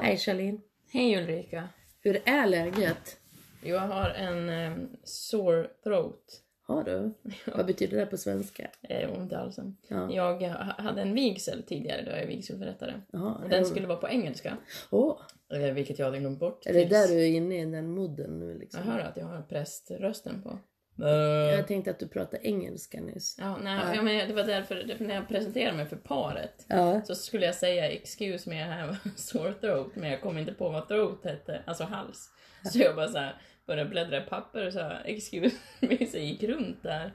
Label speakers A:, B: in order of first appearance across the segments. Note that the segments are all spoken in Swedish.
A: Hej Charlene.
B: Hej Ulrika.
A: Hur är läget?
B: Jag har en eh, sore throat
A: Har du? Vad betyder det på svenska?
B: eh, ont i halsen.
A: Ja.
B: Jag eh, ha- hade en vigsel tidigare då jag är vigselförrättare.
A: Jaha,
B: Den
A: är-
B: skulle vara på engelska,
A: Åh,
B: eh, vilket jag hade glömt bort.
A: är det
B: tills-
A: där du är inne i den modden nu liksom?
B: Jag hör att jag har präströsten på. Eh,
A: Jag tänkte att du pratade engelska nyss.
B: Ja, nej, ja, men det var därför, det- när jag presenterade mig för paret
A: Ja.
B: så skulle jag säga excuse me I have a sore throat men jag kom inte på vad throat hette, alltså hals. Så jag bara så här, började bläddra i papper och sa excuse me så jag gick runt där.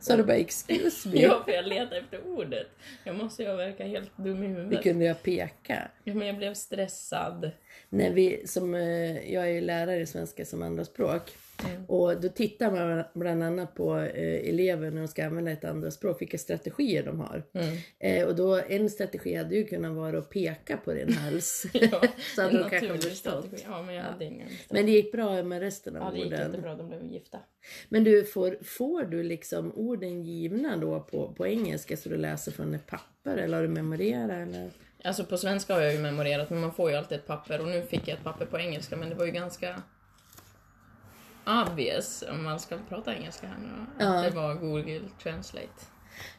A: Så du bara excuse me?
B: Ja, för jag letade efter ordet. Jag måste ju verka helt dum i
A: Vi
B: huvudet.
A: kunde jag peka.
B: Ja, men jag blev stressad.
A: När vi, som, eh, jag är ju lärare i svenska som andraspråk.
B: Mm.
A: Och då tittar man bland annat på eh, elever när de ska använda ett andraspråk, vilka strategier de har.
B: Mm.
A: Eh, och då, en strategi hade ju kunnat vara att peka på din hals.
B: Ja,
A: så hade
B: en
A: de kanske
B: naturlig
A: förstått.
B: strategi. Ja, men jag hade ingen.
A: Men det gick bra med resten av
B: Ja, det gick
A: orden.
B: jättebra. De blev gifta.
A: Men du, får, får du liksom orden givna då på, på engelska så du läser från ett papper eller har du memorerat eller?
B: Alltså på svenska har jag ju memorerat, men man får ju alltid ett papper. Och nu fick jag ett papper på engelska, men det var ju ganska obvious, om man ska prata engelska här nu, att det var Google Translate.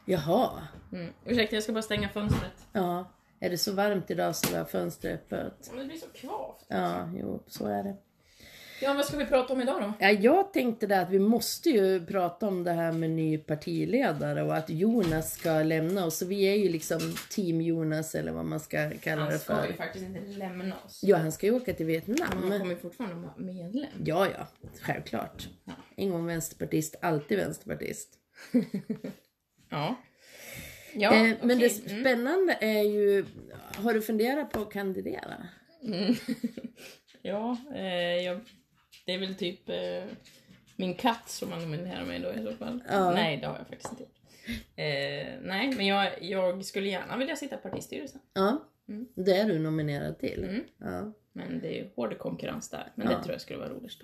A: Jaha,
B: Mm. Ursäkta, jag ska bara stänga fönstret.
A: ja. Är det så varmt idag så var fönstret öppet?
B: Men det blir så kvavt.
A: Ja, jo, så är det.
B: Ja, vad ska vi prata om idag då?
A: Ja, jag tänkte det att vi måste ju prata om det här med ny partiledare och att Jonas ska lämna oss. Så vi är ju liksom team Jonas eller vad man ska kalla
B: Han
A: det
B: ska ju
A: för.
B: faktiskt inte lämna oss.
A: Ja, han ska ju åka till Vietnam.
B: Men han kommer ju fortfarande vara medlem.
A: Ja, ja, självklart. En gång vänsterpartist, alltid vänsterpartist.
B: Ja. Ja,
A: Eh, Men det
B: okej. Mm.
A: spännande är ju, har du funderat på att kandidera?
B: Ja, eh, jag, det är väl typ eh, min katt som har nominerat mig då i så fall. Nej, det har jag faktiskt inte gjort. eh, Nej, men jag, jag skulle gärna vilja sitta i partistyrelsen.
A: Ja, Mm. det är du nominerad till.
B: Mm.
A: Ja.
B: Men det är ju hård konkurrens där. Men det tror jag skulle vara roligt.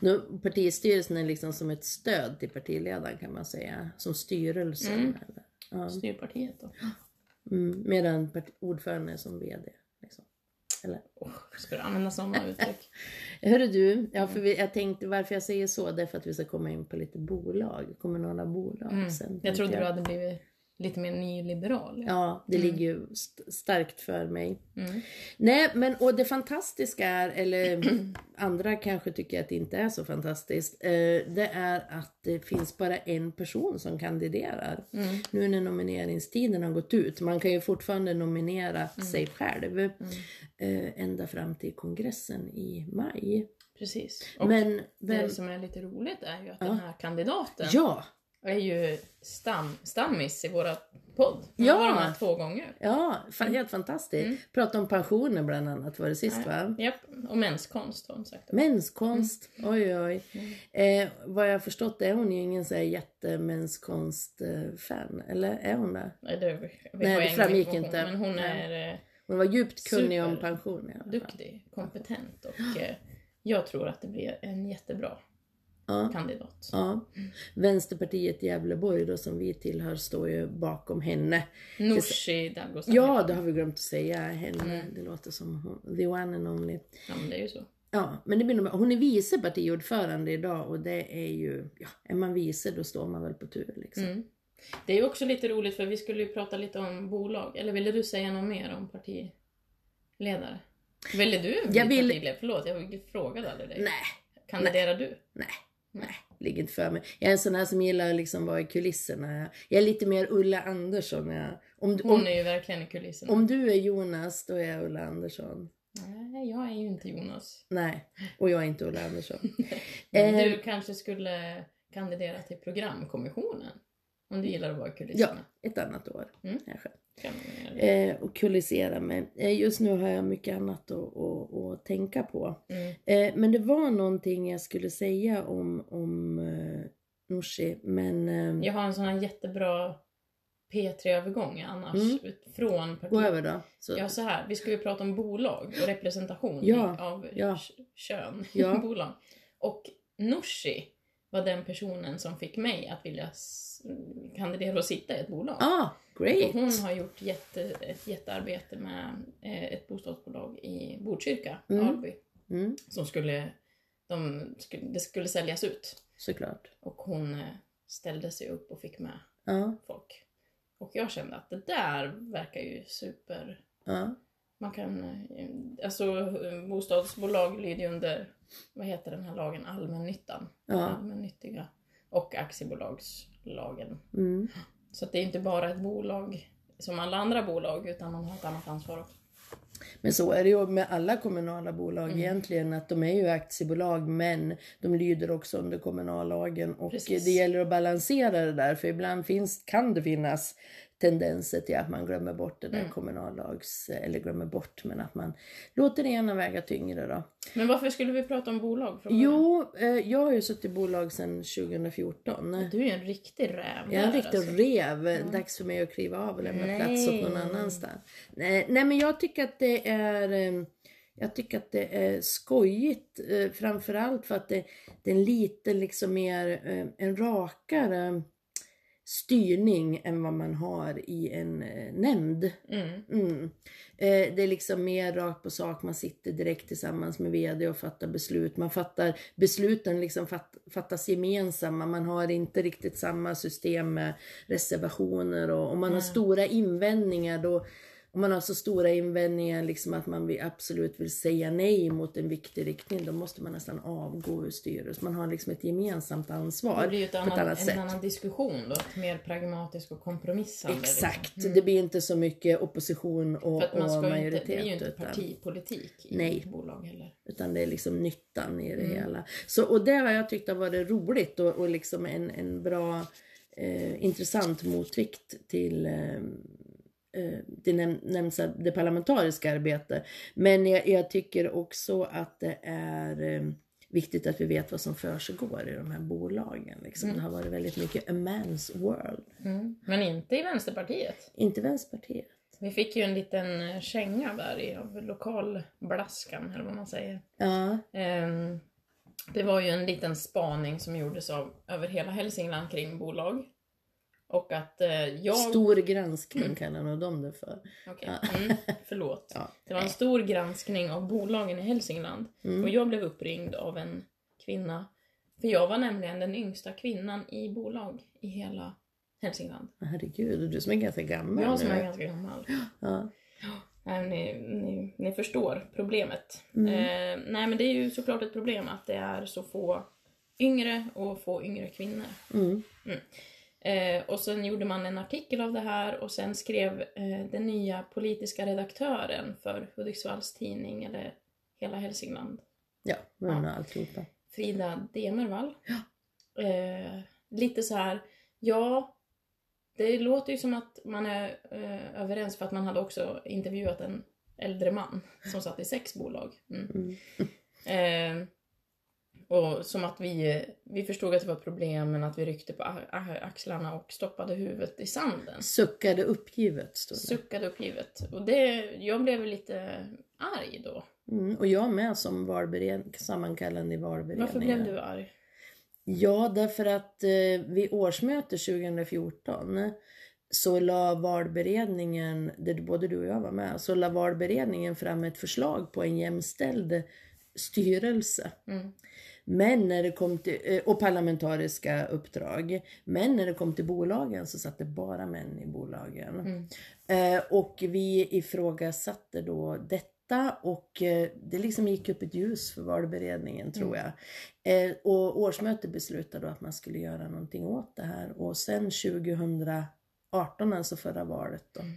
A: Nu, partistyrelsen är liksom som ett stöd till partiledaren kan man säga, som styrelsen.
B: Mm.
A: Eller?
B: Styrpartiet då.
A: Mm. Medan part- ordföranden är som VD. Liksom. Eller?
B: Oh, ska du använda sådana uttryck?
A: Hörru du, ja, för vi, jag tänkte varför jag säger så, det är för att vi ska komma in på lite bolag, kommunala bolag sen.
B: Mm. Jag
A: tänkte
B: trodde du hade blivit lite mer nyliberal.
A: Ja,
B: Mm.
A: det ligger ju st- starkt för mig. Nej, men och det fantastiska är, eller andra kanske tycker att det inte är så fantastiskt, eh, det är att det finns bara en person som kandiderar.
B: Mm.
A: Nu när nomineringstiden har gått ut, man kan ju fortfarande nominera
B: Mm.
A: sig själv eh, ända fram till kongressen i maj.
B: Precis. Och
A: men vem,
B: det som är lite roligt är ju att den här kandidaten
A: ja,
B: är ju stam, stammis i våra podd. Hon
A: Ja.
B: har varit med två gånger.
A: ja, fan, helt fantastiskt.
B: Mm.
A: Prata om pensioner bland annat var det sist va?
B: Eh, Japp, och mänskonst har hon sagt.
A: Menskonst, oj oj. Eh, vad jag har förstått är hon ju ingen så här jättemenskonst-fan, eller är hon det?
B: Nej, det, vi får
A: Nej, det
B: ingen
A: framgick
B: information,
A: inte.
B: Men hon
A: Nej.
B: är eh,
A: Hon var djupt kunnig om
B: Super.
A: pension i alla fall.
B: duktig, kompetent och eh, jag tror att det blir en jättebra kandidat.
A: Ja. Vänsterpartiet i Gävleborg då som vi tillhör står ju bakom henne.
B: Nooshi Dadgostar.
A: Ja, det har vi glömt att säga henne. Det låter som hon, the one and only.
B: ja, men det är ju så.
A: Ja, men det blir nog bra. Hon är vice partiordförande idag och det är ju, ja, är man vice då står man väl på tur liksom.
B: Mm. Det är ju också lite roligt för vi skulle ju prata lite om bolag. Eller ville du säga något mer om partiledare? Ville du bli
A: Jag vill-
B: partiledare? Förlåt, jag frågade aldrig dig.
A: Nej,
B: Kandiderar du?
A: Nej, nej, ligger inte för mig. Jag är en sån här som gillar att liksom vara i kulisserna. Jag är lite mer Ulla Andersson. när Jag, om, du-
B: Hon
A: om,
B: är ju verkligen i kulisserna.
A: Mm. om du är Jonas, då är jag Ulla Andersson.
B: Nej, jag är ju inte Jonas.
A: Nej, och jag är inte Ulla Andersson.
B: Men
A: Eh,
B: du kanske skulle kandidera till programkommissionen? Om du gillar att vara i
A: ja,
B: kulisserna.
A: ett annat år
B: Mm.
A: kanske.
B: Kan man göra det.
A: Eh, och kulisera mig. Eh, just nu har jag mycket annat att, att, att tänka på.
B: Mm.
A: Eh, men det var någonting jag skulle säga om, om eh, Nooshi, men eh,
B: Jag har en sån här jättebra P3-övergång annars.
A: Mm.
B: ut- Från
A: gå
B: partiet.
A: över då. Så.
B: Ja, så här. Vi ska ju prata om bolag och representation
A: Ja,
B: i- av
A: ja.
B: k- kön i
A: Ja.
B: bolag. Och Nooshi var den personen som fick mig att vilja s- kandidera och sitta i ett bolag.
A: Ah,
B: Och
A: great!
B: hon har gjort jätte, ett jättearbete med eh, ett bostadsbolag i Botkyrka,
A: Mm.
B: Alby,
A: Mm,
B: som skulle, de, skulle, det skulle säljas ut.
A: såklart.
B: Och hon eh, ställde sig upp och fick med
A: Ja,
B: folk. Och jag kände att det där verkar ju super...
A: ja.
B: Man kan... eh, Alltså eh, bostadsbolag lyder ju under, vad heter den här lagen, allmännyttan.
A: Ja.
B: Allmännyttiga. Och aktiebolagslagen.
A: Mm.
B: Så att det är inte bara ett bolag som alla andra bolag utan man har ett annat ansvar också.
A: Men så är det ju med alla kommunala bolag egentligen att de är ju aktiebolag men de lyder också under kommunallagen och
B: Precis.
A: det gäller att balansera det där för ibland finns, kan det finnas tendenser till att man glömmer bort det där kommunallags, eller glömmer bort men att man låter det ena väga tyngre då.
B: Men varför skulle vi prata om bolag? från början?
A: Jo, eh, jag har ju suttit i bolag sedan 2014.
B: Du är ju en riktig räv.
A: Jag är en
B: där,
A: riktig
B: alltså.
A: rev. Dags för mig att kliva av och lämna plats åt någon
B: Nej.
A: annanstans. Nej, nej men jag tycker att det är eh, jag tycker att det är skojigt eh, framförallt för att det, det är en lite liksom mer eh, en rakare styrning än vad man har i en eh, nämnd.
B: Mm.
A: Mm. Eh, det är liksom mer rakt på sak, man sitter direkt tillsammans med VD och fattar beslut. Man fattar, besluten liksom fatt, fattas gemensamma, man har inte riktigt samma system med reservationer och om man har stora invändningar då om man har så stora invändningar liksom att man vill, absolut vill säga nej mot en viktig riktning, då måste man nästan avgå ur styrelsen. Man har liksom ett gemensamt ansvar
B: Det blir ju ett
A: på
B: annat,
A: ett annat sätt.
B: en annan diskussion då. ett Mer pragmatisk och kompromissande.
A: Exakt,
B: Liksom. Mm.
A: det blir inte så mycket opposition och,
B: För att man
A: och
B: ska ju inte,
A: majoritet.
B: det är ju inte
A: utan-
B: partipolitik i
A: Nej.
B: ett bolag heller.
A: Utan det är liksom nyttan i det
B: Mm.
A: hela. Så, och det har jag tyckt har varit roligt och, och liksom en, en bra eh, intressant motvikt till eh, eh, det, näm, nämns, det parlamentariska arbete. Men jag, jag tycker också att det är eh, viktigt att vi vet vad som försiggår i de här bolagen. Liksom.
B: Mm.
A: Det har varit väldigt mycket a man's world.
B: Men inte i Vänsterpartiet.
A: Inte Vänsterpartiet.
B: Vi fick ju en liten eh, känga där i av lokalblaskan eller vad man säger.
A: Ja,
B: Ehm, Det var ju en liten spaning som gjordes av, över hela Hälsingland kring bolag. Och att eh, jag...
A: stor
B: Mm.
A: granskning kallar nog de det för.
B: Okej, mm, förlåt.
A: Ja.
B: Det var en stor granskning av bolagen i Hälsingland.
A: Mm.
B: Och jag blev uppringd av en kvinna. För jag var nämligen den yngsta kvinnan i bolag i hela Hälsingland.
A: Herregud, du som är ganska gammal
B: jag som
A: nu.
B: är ganska gammal.
A: Ja.
B: Nej, ni, ni, ni förstår problemet. Eh, nej men det är ju såklart ett problem att det är så få yngre och få yngre kvinnor.
A: Mm.
B: Mm. Eh, och sen gjorde man en artikel av det här och sen skrev eh, den nya politiska redaktören för Hudiksvalls tidning, eller hela Hälsingland,
A: Ja, men
B: Ja.
A: alltihopa.
B: Frida Demervall. Eh, lite så här, ja, det låter ju som att man är eh, överens för att man hade också intervjuat en äldre man som satt i sex bolag. Mm.
A: Mm.
B: Eh, och som att vi, vi förstod att det var ett problem men att vi ryckte på a- a- axlarna och stoppade huvudet i sanden.
A: Suckade uppgivet stod det.
B: Suckade uppgivet. Och det, jag blev lite arg då.
A: Mm. Och jag med som valberen- sammankallande i valberedningen.
B: Varför blev du arg?
A: Ja, därför att eh, vid årsmöte 2014 så la valberedningen, där både du och jag var med, så la valberedningen fram ett förslag på en jämställd styrelse.
B: Mm.
A: Men när det kom till, eh, och parlamentariska uppdrag. Men när det kom till bolagen så satt det bara män i bolagen.
B: Mm.
A: Eh, och vi ifrågasatte då detta och eh, det liksom gick upp ett ljus för valberedningen tror
B: Mm.
A: jag. Eh, och årsmötet beslutade då att man skulle göra någonting åt det här och sen 2018, alltså förra valet då,
B: Mm.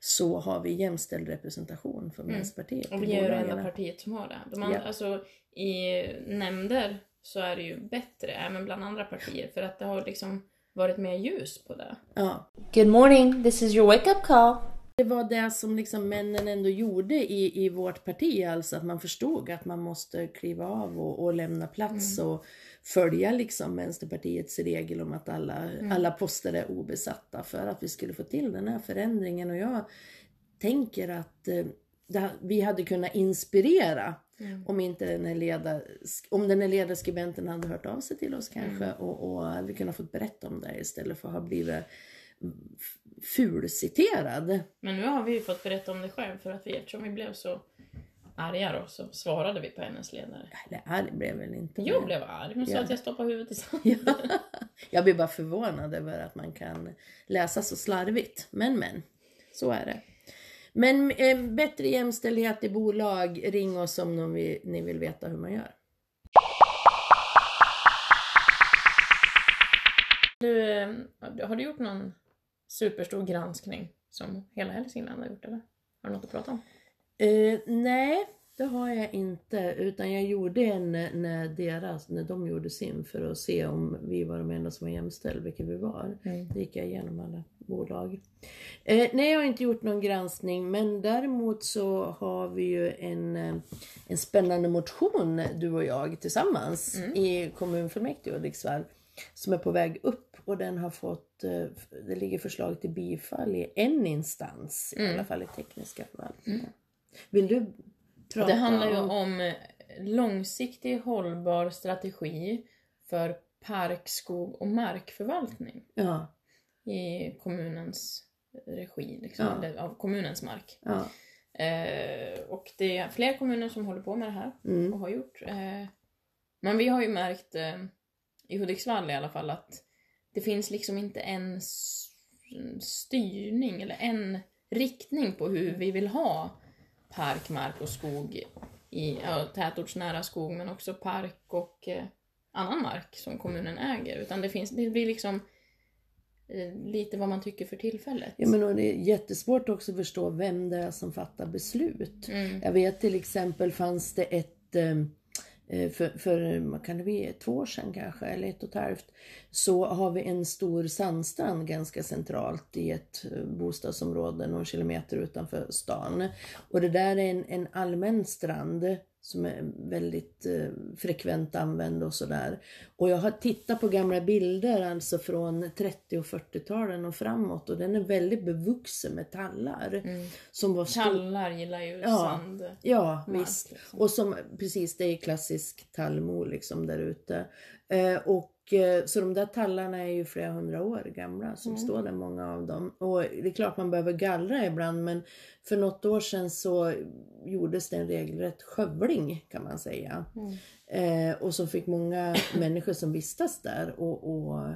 A: så har vi jämställd representation för Vänsterpartiet
B: Och
A: i
B: vi är ju det
A: bolagen.
B: enda partiet som har det. De andra,
A: Ja.
B: alltså, I nämnder så är det ju bättre, även bland andra partier, för att det har liksom varit mer ljus på det.
A: Ja.
C: Good morning. This is your wake up call.
A: Det var det som liksom männen ändå gjorde i, i vårt parti, alltså att man förstod att man måste kliva av och, och lämna plats och följa liksom Vänsterpartiets regel om att alla, alla poster är obesatta för att vi skulle få till den här förändringen. Och jag tänker att eh, det, ha- vi hade kunnat inspirera
B: Mm.
A: Om, inte den här leda, om den här ledarskribenten hade hört av sig till oss kanske och, och hade kunnat fått berätta om det här istället för att ha blivit f- fulciterad.
B: Men nu har vi ju fått berätta om det själv för att vi, eftersom vi blev så arga då så svarade vi på hennes ledare.
A: Eller arg blev jag väl inte.
B: Jag
A: men-
B: blev arg, hon sa
A: Ja.
B: att jag stoppade huvudet i sanden.
A: Ja. Jag blir bara förvånad över att man kan läsa så slarvigt. Men men, så är det. Men eh, bättre jämställdhet i bolag, ring oss om någon vi, ni vill veta hur man gör.
B: Du, eh, har du gjort någon superstor granskning som hela Hälsingland har gjort eller? Har du något att prata om?
A: Eh, nej, det har jag inte. Utan jag gjorde en eh, när, deras, när de gjorde sin för att se om vi var de enda som var jämställda, vilket vi var. Då gick jag igenom alla bolag. Eh, nej, jag har inte gjort någon granskning men däremot så har vi ju en, eh, en spännande motion du och jag tillsammans
B: Mm.
A: i kommunfullmäktige i Hudiksvall som är på väg upp och den har fått, eh, f- det ligger förslag till bifall i en instans, i
B: Mm.
A: alla fall i tekniska förvaltningen. Vill du prata
B: Det handlar ju
A: om...
B: om eh, långsiktig hållbar strategi för park, skog och markförvaltning
A: Ja,
B: i kommunens regi, liksom,
A: Ja.
B: eller av kommunens mark.
A: ja.
B: Eh, och det är fler kommuner som håller på med det här
A: Mm.
B: och har gjort. Eh, men vi har ju märkt, eh, i Hudiksvall i alla fall, att det finns liksom inte en s- styrning eller en riktning på hur vi vill ha park, mark och skog i ja, tätortsnära skog men också park och eh, annan mark som kommunen äger. Utan det, finns, det blir liksom eh, lite vad man tycker för tillfället.
A: Ja, men och det är jättesvårt också att förstå vem det är som fattar beslut.
B: Mm.
A: Jag vet till exempel fanns det ett eh, för, för eh, vad kan det bli, två år sedan kanske, eller ett och ett halvt, så har vi en stor sandstrand ganska centralt i ett eh, bostadsområde någon kilometer utanför stan. Och det där är en, en allmän strand som är väldigt eh, frekvent använd och sådär. Och jag har tittat på gamla bilder alltså från 30 och 40-talen och framåt och den är väldigt bevuxen med tallar.
B: Mm.
A: Som var stor-
B: Tallar gillar ju
A: Ja.
B: sand.
A: Ja,
B: mark,
A: visst.
B: liksom.
A: Och som, precis, det är klassisk tallmo liksom där ute. Eh, och eh, så de där tallarna är ju flera hundra år gamla som
B: Mm.
A: står där, många av dem. Och det är klart man behöver gallra ibland men för något år sedan så gjordes det en regelrätt skövling kan man säga.
B: Mm.
A: Eh, och som fick många människor som vistas där. Och, och,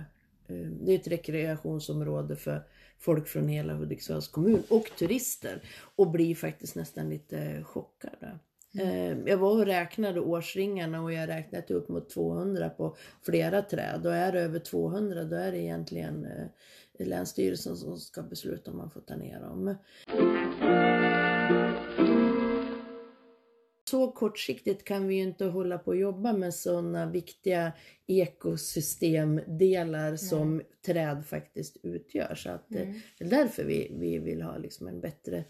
A: eh, det är ett rekreationsområde för folk från hela Hudiksvalls kommun och turister. Och blir faktiskt nästan lite chockade.
B: Mm.
A: Eh, jag var och räknade årsringarna och jag räknade till upp mot 200 på flera träd. Och är det över 200 då är det egentligen eh, Länsstyrelsen som ska besluta om man får ta ner dem. Så kortsiktigt kan vi ju inte hålla på och jobba med sådana viktiga ekosystemdelar som träd faktiskt utgör. Så att, eh,
B: Mm.
A: Det är därför vi, vi vill ha liksom en bättre
B: Ja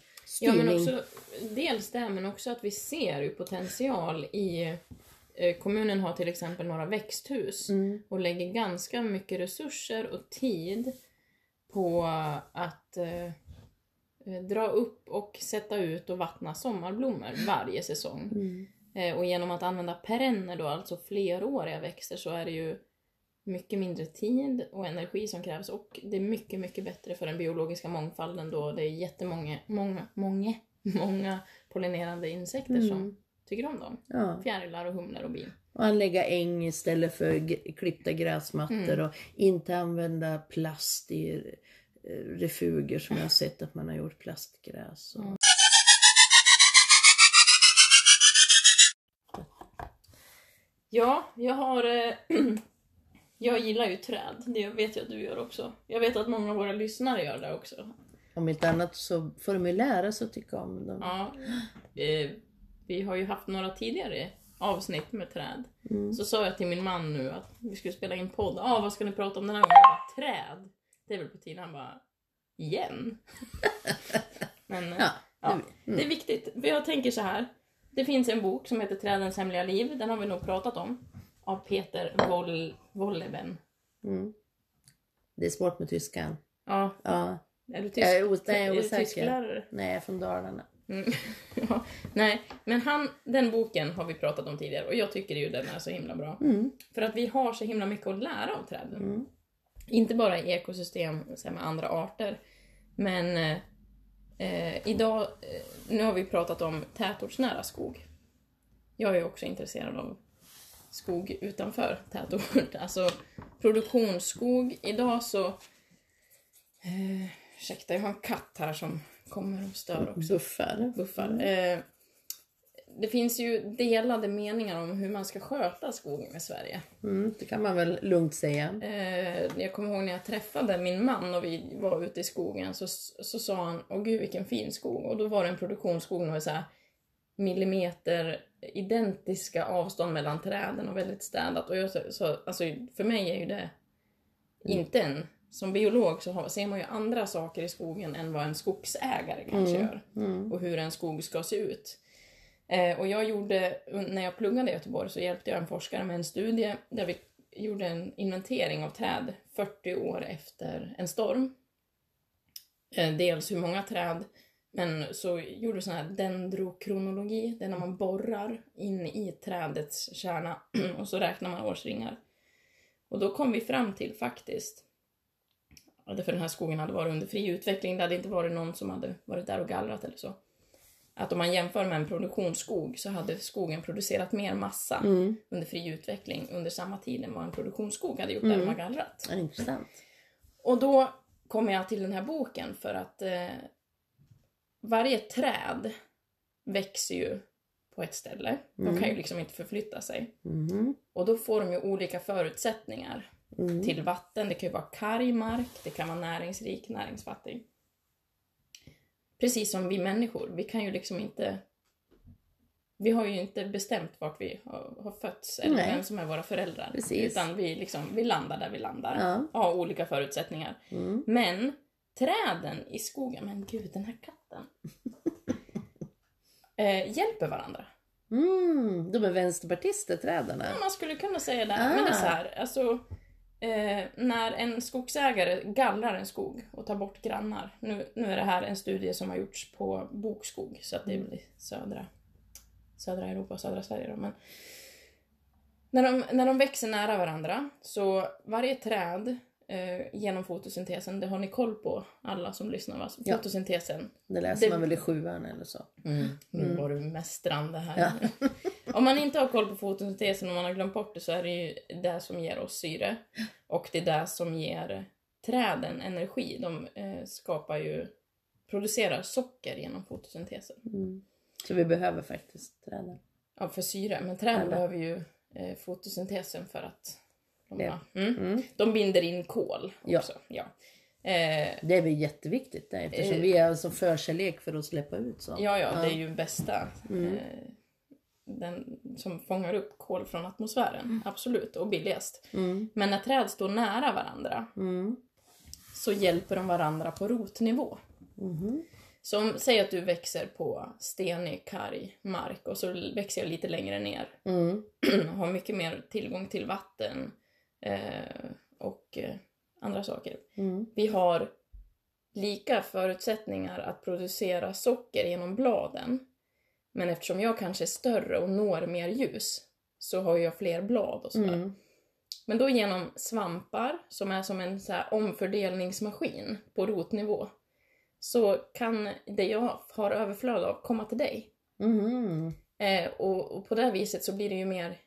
A: styrning.
B: men också, dels det men också att vi ser ju potential i eh, Kommunen har till exempel några växthus
A: Mm.
B: och lägger ganska mycket resurser och tid på att eh, eh, dra upp och sätta ut och vattna sommarblommor varje säsong.
A: Mm.
B: Eh, och genom att använda perenner då, alltså fleråriga växter, så är det ju mycket mindre tid och energi som krävs och det är mycket, mycket bättre för den biologiska mångfalden då det är jättemånga, många, många, många pollinerande insekter
A: Mm.
B: som tycker om dem.
A: Ja.
B: Fjärilar och humlor och bin.
A: Och anlägga äng istället för g- klippta gräsmattor
B: Mm.
A: och inte använda plast i eh, refuger som jag har sett att man har gjort plastgräs. Och...
B: Mm. Ja, jag har... eh, jag gillar ju träd, det vet jag att du gör också. Jag vet att många av våra lyssnare gör det också.
A: Om inte annat så får de ju lära sig att tycka om dem.
B: Ja. Eh, vi har ju haft några tidigare avsnitt med träd.
A: Mm.
B: Så sa jag till min man nu att vi skulle spela in podd. ah, vad ska ni prata om den här gången? Jag bara, träd. Det är väl på tiden. Han bara, igen? Men eh,
A: Ja,
B: ja,
A: det- mm.
B: det är viktigt. För jag tänker så här. Det finns en bok som heter Trädens hemliga liv. Den har vi nog pratat om. Av Peter Woll- Wolleben.
A: Mm. Det är svårt med tyskan.
B: Ja,
A: Ja.
B: är du tysk?
A: Jag är, os- nej, jag
B: är
A: är
B: du
A: osäker.
B: tysklärare?
A: Nej, jag är från Dalarna.
B: Mm. ja, nej, men han, den boken har vi pratat om tidigare och jag tycker ju den är så himla bra.
A: Mm.
B: För att vi har så himla mycket att lära av träden.
A: Mm.
B: Inte bara i ekosystem så här, med andra arter. Men eh, eh, idag, eh, nu har vi pratat om tätortsnära skog. Jag är också intresserad av skog utanför tätort. Alltså produktionsskog. Idag så... Eh, ursäkta, jag har en katt här som kommer och stör också
A: Buffar.
B: buffar. Eh, det finns ju delade meningar om hur man ska sköta skogen i Sverige.
A: Mm, det kan man väl lugnt säga.
B: Eh, jag kommer ihåg när jag träffade min man och vi var ute i skogen så, så sa han Åh gud vilken fin skog. Och då var det en produktionsskog med så här millimeter identiska avstånd mellan träden och väldigt städat. Och jag, så, så, alltså, för mig är ju det inte en... Som biolog så har, ser man ju andra saker i skogen än vad en skogsägare kanske gör
A: Mm.
B: och hur en skog ska se ut. Eh, och jag gjorde, när jag pluggade i Göteborg så hjälpte jag en forskare med en studie där vi gjorde en inventering av träd 40 år efter en storm. Eh, dels hur många träd, men så gjorde vi sån här dendrokronologi, det är när man borrar in i trädets kärna och så räknar man årsringar. Och då kom vi fram till faktiskt Ja, därför den här skogen hade varit under fri utveckling. Det hade inte varit någon som hade varit där och gallrat eller så. Att om man jämför med en produktionsskog så hade skogen producerat mer massa
A: Mm.
B: under fri utveckling under samma tid än vad en produktionsskog hade gjort där
A: Mm.
B: de har gallrat.
A: Ja, Intressant.
B: Och då kommer jag till den här boken för att eh, varje träd växer ju på ett ställe. De kan ju liksom inte förflytta sig.
A: Mm.
B: Och då får de ju olika förutsättningar
A: Mm.
B: till vatten. Det kan ju vara karg mark, det kan vara näringsrik, näringsfattig. Precis som vi människor, vi kan ju liksom inte... Vi har ju inte bestämt vart vi har, har fötts eller
A: Nej.
B: vem som är våra föräldrar.
A: Precis.
B: Utan vi, liksom, vi landar där vi landar.
A: Ja.
B: Har olika förutsättningar.
A: Mm.
B: Men träden i skogen, men gud den här katten. eh, hjälper varandra.
A: Mm. De är vänsterpartister, trädarna.
B: Ja, man skulle kunna säga det.
A: Ah.
B: Men det är så här, alltså, eh, när en skogsägare gallrar en skog och tar bort grannar. Nu, nu är det här en studie som har gjorts på bokskog, så att det är
A: Mm.
B: väl i södra, södra Europa och södra Sverige. Då, men när de, när de växer nära varandra, så varje träd eh, genom fotosyntesen, det har ni koll på alla som lyssnar va?
A: Ja.
B: Fotosyntesen,
A: Det läser
B: Det-
A: man väl i sjuan eller så.
B: Mm,
A: Mm.
B: nu var du mästrande här. om man inte har koll på fotosyntesen och man har glömt bort det så är det ju det som ger oss syre. Och det är det som ger träden energi. De eh, skapar ju, producerar socker genom fotosyntesen.
A: Mm. Så vi behöver faktiskt träden.
B: Ja, för syre. Men träden
A: Alla.
B: behöver ju eh, fotosyntesen för att de,
A: Leva.
B: mm.
A: Mm.
B: de binder in kol
A: Ja.
B: också. Ja. Eh,
A: Det är väl jätteviktigt där, eftersom
B: Eh.
A: vi är alltså förkärlek för att släppa ut sånt.
B: Ja, ja, det är ju bästa.
A: Mm.
B: Eh, den som fångar upp kol från atmosfären, absolut, och billigast.
A: Mm.
B: Men när träd står nära varandra
A: Mm.
B: så hjälper de varandra på rotnivå.
A: Mhm.
B: Så om, säg att du växer på stenig, karg mark och så växer jag lite längre ner
A: Mm.
B: och har mycket mer tillgång till vatten eh, och eh, andra saker.
A: Mm.
B: Vi har lika förutsättningar att producera socker genom bladen. Men eftersom jag kanske är större och når mer ljus så har jag fler blad och sådär.
A: Mm.
B: Men då genom svampar, som är som en så här omfördelningsmaskin på rotnivå, så kan det jag har överflöd av komma till dig.
A: Mhm.
B: Eh, och, och på det här viset så blir det ju mer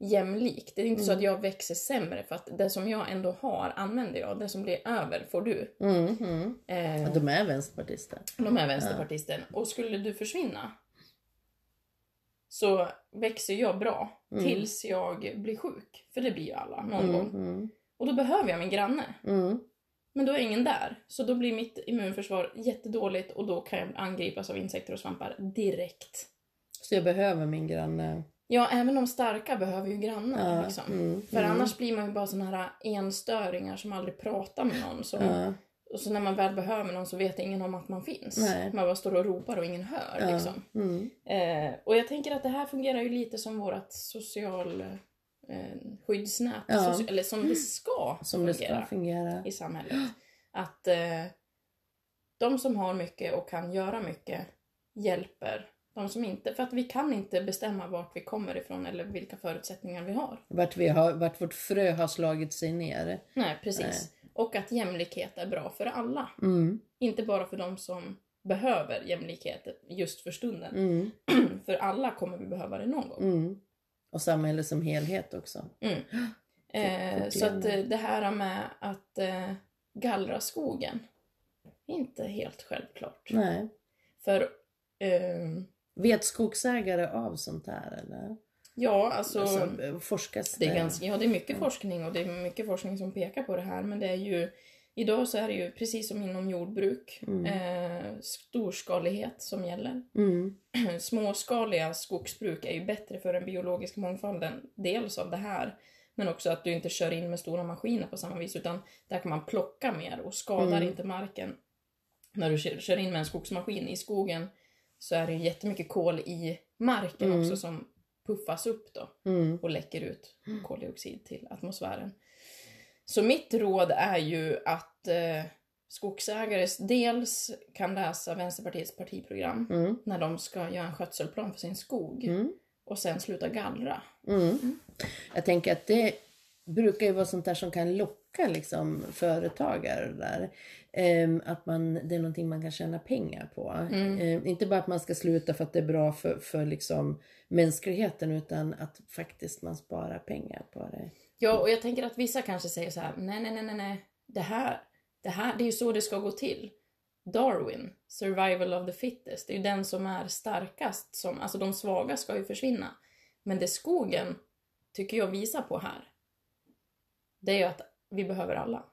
B: jämlikt. Det är inte så
A: Mm.
B: att jag växer sämre för att det som jag ändå har använder jag. Det som blir över får du.
A: Mm. Mm.
B: Eh,
A: Ja, De är vänsterpartister.
B: de här vänsterpartisten. Och skulle du försvinna så växer jag bra
A: Mm.
B: tills jag blir sjuk. För det blir ju alla någon
A: Mm.
B: gång.
A: Mm.
B: Och då behöver jag min granne.
A: Mm.
B: Men då är ingen där. Så då blir mitt immunförsvar jättedåligt och då kan jag angripas av insekter och svampar direkt.
A: Så jag behöver min granne.
B: Ja, även de starka behöver ju grannar.
A: Ja,
B: Liksom.
A: mm,
B: För
A: mm.
B: annars blir man ju bara såna här enstöringar som aldrig pratar med någon. Så,
A: Ja.
B: Och så när man väl behöver någon så vet ingen om att man finns.
A: Nej.
B: Man bara står och ropar och ingen hör.
A: Ja.
B: Liksom.
A: Mm.
B: Eh, och jag tänker att det här fungerar ju lite som vårt social eh, skyddsnät,
A: Ja.
B: soci- eller som det ska
A: Som det
B: fungera
A: ska fungera.
B: i samhället. Att eh, de som har mycket och kan göra mycket hjälper de som inte, för att vi kan inte bestämma vart vi kommer ifrån eller vilka förutsättningar vi har.
A: Vart, vi har, vart vårt frö har slagit sig ner.
B: Nej, precis. Och att jämlikhet är bra för alla.
A: Mm.
B: Inte bara för de som behöver jämlikhet just för stunden.
A: Mm.
B: För alla kommer vi behöva det någon gång.
A: Mm. Och samhället som helhet också.
B: Mm. Eh, så att eh, det här med att eh, gallra skogen är inte helt självklart.
A: Nej.
B: För eh,
A: Vet skogsägare av sånt här eller?
B: ja, alltså,
A: Alltså, eh, forskas
B: det, är ganska, ja, det är mycket forskning och det är mycket forskning som pekar på det här men det är ju Idag så är det ju precis som inom jordbruk
A: Mm.
B: eh, storskalighet som gäller.
A: Mm.
B: Småskaliga skogsbruk är ju bättre för den biologiska mångfalden. Dels av det här, men också att du inte kör in med stora maskiner på samma vis. Utan där kan man plocka mer och skadar
A: Mm.
B: inte marken. När du kör, kör in med en skogsmaskin i skogen så är det ju jättemycket kol i marken
A: Mm.
B: också som puffas upp då
A: Mm.
B: och läcker ut koldioxid till atmosfären. Så mitt råd är ju att eh, skogsägare dels kan läsa Vänsterpartiets partiprogram
A: Mm.
B: när de ska göra en skötselplan för sin skog
A: Mm.
B: och sen sluta gallra.
A: Mm. Jag tänker att det brukar ju vara sånt där som kan locka liksom, företagare där. Ehm, att man, det är någonting man kan tjäna pengar på.
B: Mm.
A: Ehm, inte bara att man ska sluta för att det är bra för, för liksom, mänskligheten utan att faktiskt man sparar pengar på det.
B: Ja, och jag tänker att vissa kanske säger så här, nej, nej, nej, nej, nej, det här, det här, det är ju så det ska gå till. Darwin, survival of the fittest, det är ju den som är starkast, som, alltså de svaga ska ju försvinna. Men det skogen, tycker jag visar på här, det är ju att vi behöver alla.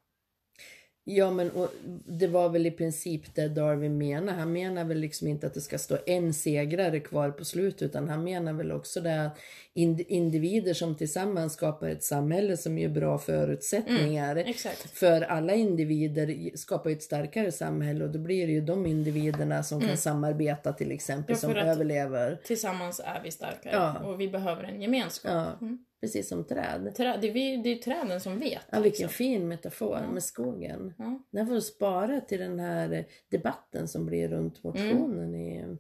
A: Ja men och det var väl i princip det Darwin menar. Han menar väl liksom inte att det ska stå en segrare kvar på slutet utan han menar väl också det att ind- individer som tillsammans skapar ett samhälle som ger bra förutsättningar
B: Exakt.
A: för alla individer skapar ju ett starkare samhälle och då blir det ju de individerna som kan samarbeta till exempel
B: Mm. Ja, för
A: som
B: att-
A: överlever.
B: Tillsammans är vi starkare
A: Ja.
B: och vi behöver en gemenskap.
A: Ja,
B: Mm.
A: precis som träd.
B: Trä, det, är vi, det är träden som vet.
A: Ja, vilken
B: liksom.
A: fin metafor
B: Ja.
A: med skogen.
B: Ja.
A: Den får du spara till den här debatten som blir runt motionen i...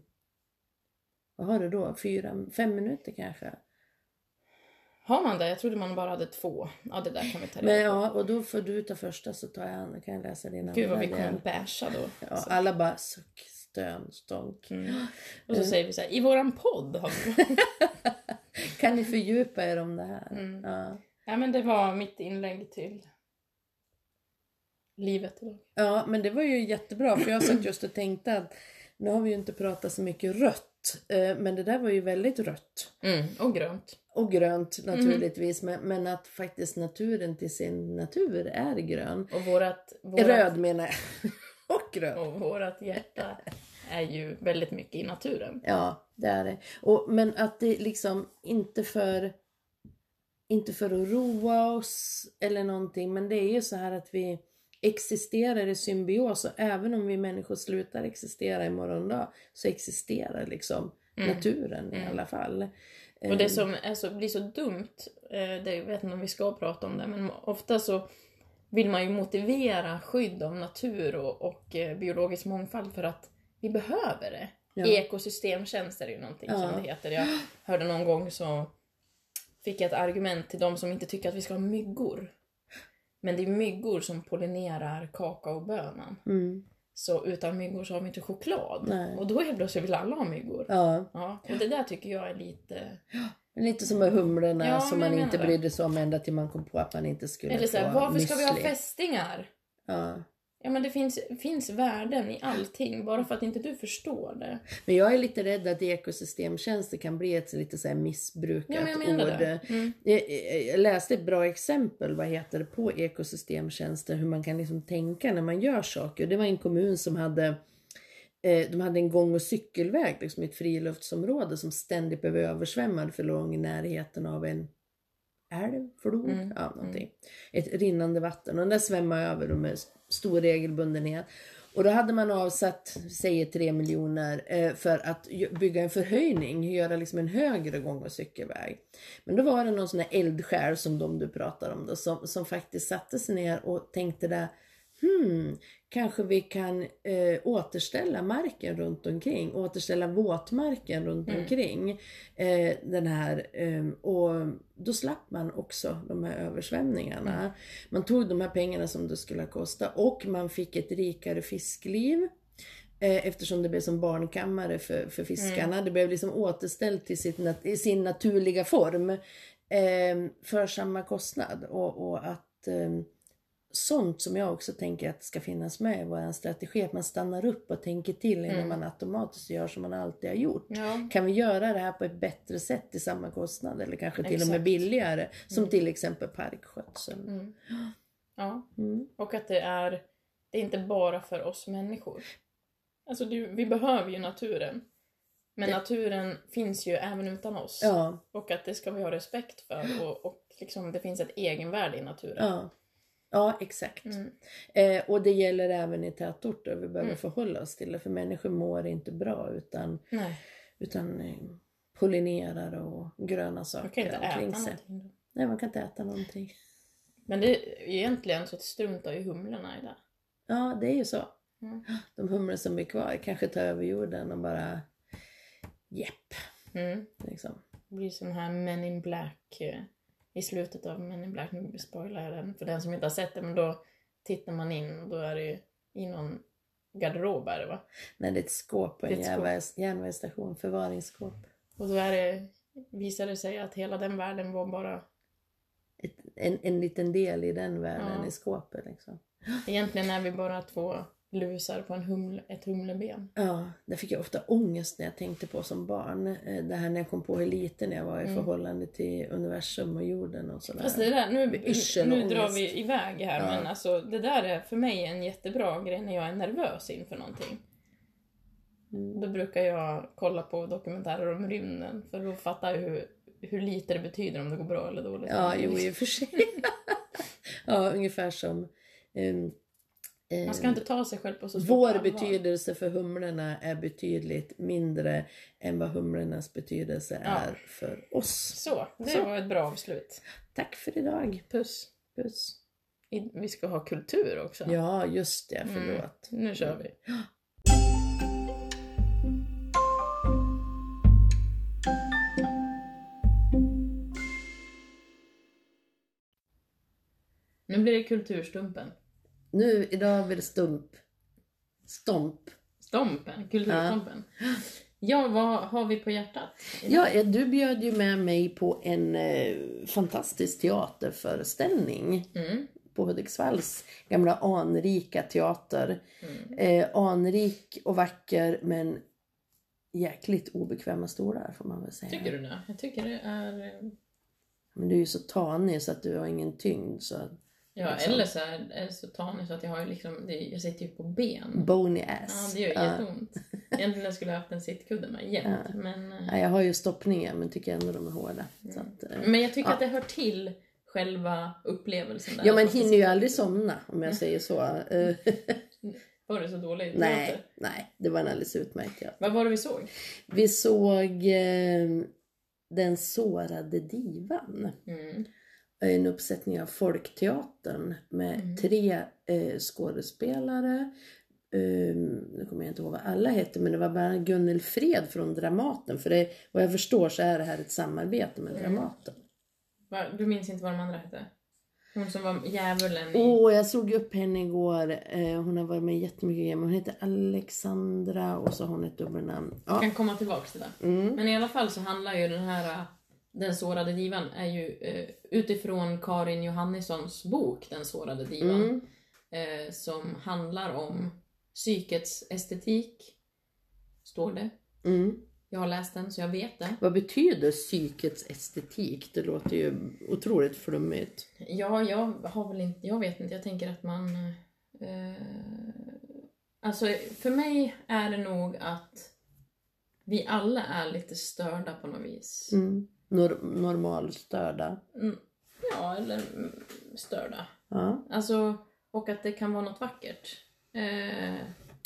A: Vad har du då? Fyra, fem minuter kanske?
B: Har man det? Jag trodde man bara hade två. Ja, det där kan vi ta
A: Men
B: reda på.
A: ja, och då får du ta första så tar jag, kan jag läsa din
B: Gud vad vi
A: andra
B: kommer
A: del.
B: basha då.
A: ja,
B: Så.
A: Alla bara suck, stön, stånk.
B: Mm. Och så säger vi så här, i våran podd har vi...
A: Kan ni fördjupa er om det här?
B: Mm.
A: Ja.
B: Nej men det var mitt inlägg till livet idag.
A: Ja, men det var ju jättebra för jag satt just och tänkte att nu har vi ju inte pratat så mycket rött, eh, men det där var ju väldigt rött.
B: Mm, Och grönt.
A: Och grönt
B: Mm.
A: naturligtvis, men, men att faktiskt naturen till sin natur är grön.
B: Och vårat, vårat,
A: Röd menar jag. Och grön.
B: Och vårat hjärta är ju väldigt mycket i naturen.
A: Ja, det är det. Och, men att det liksom inte för inte för att roa oss eller någonting, men det är ju så här att vi existerar i symbios och även om vi människor slutar existera i morgondag så existerar liksom
B: Mm.
A: naturen i
B: Mm.
A: alla fall.
B: Och det
A: Eh,
B: som är så, blir så dumt, eh, det jag vet inte om vi ska prata om det, men ofta så vill man ju motivera skydd av natur och, och eh, biologisk mångfald för att vi behöver det.
A: Ja.
B: Ekosystemtjänster är ju någonting
A: Ja.
B: som det heter. Jag hörde någon gång så fick jag ett argument till de som inte tycker att vi ska ha myggor. Men det är myggor som pollinerar kakaobönan.
A: Mm,
B: Så utan myggor så har vi inte choklad.
A: Nej.
B: Och då helt plötsligt vill alla ha myggor.
A: ja,
B: Ja, och det där tycker jag är lite...
A: lite som med humlorna
B: Ja,
A: som
B: men
A: man
B: jag
A: inte
B: menar
A: brydde sig om ända till man kom på att man inte skulle
B: Eller så här,
A: få
B: varför ska vi ha
A: müsli.
B: fästingar?
A: Ja.
B: Ja men det finns, finns värden i allting, bara för att inte du förstår det.
A: Men jag är lite rädd att ekosystemtjänster kan bli ett så lite så här missbrukat
B: Ja, men jag menar
A: ord.
B: det. Mm.
A: Jag, jag- jag läste ett bra exempel, vad heter det, på ekosystemtjänster, hur man kan liksom tänka när man gör saker. Det var en kommun som hade eh, de hade en gång och cykelväg liksom i ett friluftsområde som ständigt blev översvämmad för lång i närheten av en älv, flod,
B: Mm,
A: ja, någonting. Ett rinnande vatten och den där svämmade över då med stor regelbundenhet. Och då hade man avsatt, säger 3 miljoner, eh, för att ju- bygga en förhöjning, göra liksom en högre gång och cykelväg. Men då var det någon sån här eldsjäl som de du pratar om då, som, som faktiskt satte sig ner och tänkte där, hmm, kanske vi kan eh, återställa marken runt omkring, återställa våtmarken runt
B: Mm.
A: omkring eh, den här eh, och då slapp man också de här översvämningarna. Man tog de här pengarna som det skulle ha kostat och man fick ett rikare fiskliv. eh, Eftersom det blev som barnkammare för, för fiskarna. Det blev liksom återställt till sitt nat- i sin naturliga form. Eh, för samma kostnad. Och, och att ehm, sånt som jag också tänker att ska finnas med i vår strategi. Att man stannar upp och tänker till innan
B: Mm.
A: man automatiskt gör som man alltid har gjort.
B: Ja.
A: Kan vi göra det här på ett bättre sätt till samma kostnad eller kanske till och med
B: Exakt.
A: billigare? Som
B: Mm.
A: till exempel parkskötsel.
B: Mm. ja.
A: Mm.
B: Och att det är, det är inte bara för oss människor. Alltså du, vi behöver ju naturen. Men
A: Det-
B: naturen finns ju även utan oss.
A: Ja,
B: Och att det ska vi ha respekt för och, och liksom, det finns ett egenvärde i naturen.
A: ja. Ja, exakt.
B: Mm.
A: Eh, och det gäller även i tätorter. Vi behöver
B: Mm.
A: förhålla oss till det. För människor mår inte bra utan,
B: Nej,
A: utan eh, pollinerare och gröna
B: man kan
A: saker
B: inte äta
A: omkring sig.
B: någonting. då.
A: Nej, man kan inte äta någonting.
B: Men det, egentligen så struntar ju humlorna i det.
A: Ja, det är ju så.
B: Mm.
A: De humlor som är kvar kanske tar över jorden och bara jepp.
B: Mm.
A: Liksom.
B: Det blir sån här Men in Black eh, i slutet av Men in Black. Nu spoilar jag den för den som inte har sett den. Men då tittar man in och då är det ju i någon garderob är det va?
A: Nej, det är ett skåp på
B: Det
A: en
B: är ett skåp.
A: järnvägs, järnvägsstation, förvaringsskåp.
B: Och då är det, visar det sig att hela den världen var bara...
A: Ett, en, en liten del i den världen
B: Ja.
A: i skåpet. Liksom.
B: Egentligen är vi bara två lusar på en humle, ett humleben.
A: Ja, det fick jag ofta ångest när jag tänkte på som barn. Eh, Det här när jag kom på hur liten jag var i
B: Mm.
A: förhållande till universum och jorden och sådär.
B: Fast det där, nu,
A: Med yrsel och
B: nu drar
A: ångest.
B: vi iväg här
A: Ja.
B: men alltså det där är för mig en jättebra grej när jag är nervös inför någonting.
A: Mm.
B: Då brukar jag kolla på dokumentärer om rymden för då fattar jag hur, hur lite det betyder om det går bra eller dåligt.
A: Ja, jo i och för sig. ja, ungefär som ehm, ehm,
B: Man ska inte ta sig själv på så stort
A: Vår
B: allvar.
A: betydelse för humlorna är betydligt mindre än vad humlornas betydelse är för oss.
B: Så, det
A: Så.
B: var ett bra avslut.
A: Tack för idag.
B: Puss.
A: Puss.
B: I- Vi ska ha kultur också.
A: Ja, just det.
B: Mm.
A: Förlåt.
B: Nu kör vi. Nu blir det kulturstumpen.
A: Nu, idag blir det stump. Stomp.
B: Stompen, kulturstompen. Ja, vad har vi på hjärtat?
A: Ja, ja, du bjöd ju med mig på en eh, fantastisk teaterföreställning
B: Mm.
A: på Hudiksvalls gamla anrika teater.
B: Mm.
A: Eh, anrik och vacker men jäkligt obekväma stolar får man väl säga.
B: Tycker du det? Jag tycker det är...
A: Men du är ju så tanig så att du har ingen tyngd så att-
B: Ja,
A: Liksom.
B: eller så är är det så tanig så att jag har ju liksom... det- Jag sitter ju på ben.
A: bony
B: Ja,
A: ass.
B: det gör
A: Ja.
B: jätteont. Egentligen skulle jag haft en sittkudde med jämt, men... eh,
A: Ja, jag har ju stoppningar men tycker ändå de är hårda.
B: Mm.
A: Så att, eh.
B: Men jag tycker
A: Ja.
B: att det hör till själva upplevelsen. Där.
A: Ja man
B: Att man
A: hinner ju aldrig somna om
B: Mm.
A: jag säger så. Eh,
B: Var det så dåligt?
A: nej, nej, det var en alldeles utmärkt ja.
B: Vad var det vi såg?
A: Vi såg eh, Den sårade divan.
B: Mm.
A: en uppsättning av Folkteatern med
B: Mm.
A: tre eh, skådespelare. Um, nu kommer jag inte ihåg vad alla hette men det var bland annat Gunnel Fred från Dramaten. För det, vad jag förstår så är det här ett samarbete med
B: Mm.
A: Dramaten.
B: Va- Du minns inte vad de andra hette? Hon som var djävulen i...
A: Åh, jag såg upp henne igår. Eh, hon har varit med i jättemycket grejer. men Hon heter Alexandra och så har hon ett dubbelnamn. Ja.
B: kan komma tillbaks till det.
A: Mm.
B: Men i alla fall så handlar ju den här eh, Den sårade divan är ju eh, utifrån Karin Johannissons bok Den sårade divan.
A: Mm.
B: eh, som handlar om psykets estetik. Står det.
A: Mm.
B: Jag har läst den så jag vet det.
A: Vad betyder psykets estetik? Det låter ju otroligt flummigt.
B: Ja, jag har väl inte, jag vet inte, jag tänker att man... Eh, alltså för mig är det nog att vi alla är lite störda på något vis.
A: Mm. Nor- normalstörda.
B: Mm, ja, eller mm, störda.
A: Ja.
B: Alltså, och att det kan vara något vackert. Eh,